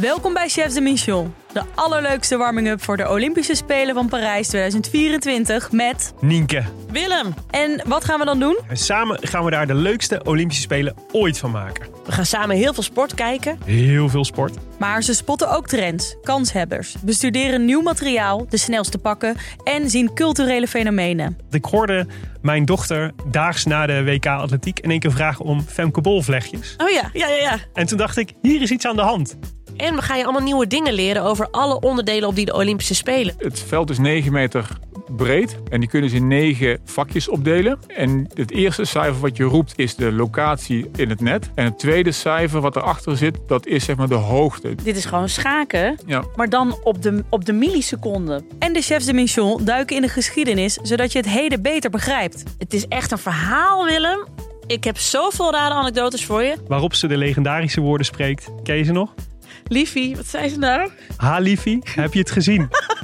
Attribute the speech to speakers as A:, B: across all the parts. A: Welkom bij Chef de Mission, de allerleukste warming-up voor de Olympische Spelen van Parijs 2024 met...
B: Nienke.
C: Willem,
A: En wat gaan we dan doen?
B: En samen gaan we daar de leukste Olympische Spelen ooit van maken.
C: we gaan samen heel veel sport kijken.
B: Heel veel sport.
A: Maar ze spotten ook trends, kanshebbers, bestuderen nieuw materiaal, de snelste pakken en zien culturele fenomenen.
B: Ik hoorde mijn dochter daags na de WK Atletiek in één keer vragen om Femke Bol vlechtjes.
C: Oh ja, ja, ja, ja.
B: En toen dacht ik, hier is iets aan de hand.
C: En we gaan je allemaal nieuwe dingen leren over alle onderdelen op die de Olympische Spelen.
D: Het veld is 9 meter breed en die kunnen ze in 9 vakjes opdelen. En het eerste cijfer wat je roept is de locatie in het net. En het tweede cijfer wat erachter zit, dat is zeg maar de hoogte.
E: Dit is gewoon schaken,
D: Ja.
E: maar dan op de, op de milliseconde.
A: En de chefs de mission duiken in de geschiedenis, zodat je het heden beter begrijpt.
C: Het is echt een verhaal, Willem. Ik heb zoveel rare anekdotes voor je.
B: Waarop ze de legendarische woorden spreekt. Ken je ze nog?
E: Liefie, wat zei ze nou?
B: Ha liefie, heb je het gezien?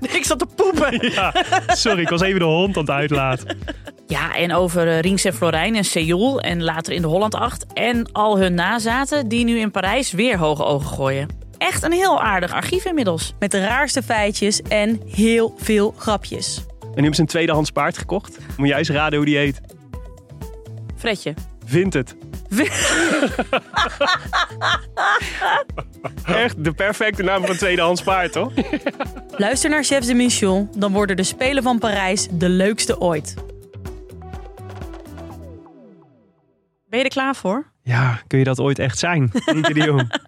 E: Ik zat te poepen.
B: Ja, sorry, ik was even de hond aan het uitlaten.
E: Ja, en over eh, Rings en Florijn en Seoul en later in de Holland 8. En al hun nazaten die nu in Parijs weer hoge ogen gooien. Echt een heel aardig archief inmiddels.
A: Met de raarste feitjes en heel veel grapjes.
B: En nu hebben ze een tweedehands paard gekocht. Moet jij eens raden hoe die heet?
E: Fredje.
B: Vindt het. Echt de perfecte naam van een tweedehands paard, toch?
A: Luister naar Chefs de Mission, dan worden de Spelen van Parijs de leukste ooit.
E: Ben je er klaar voor?
B: Ja, kun je dat ooit echt zijn? Nienke de Jong.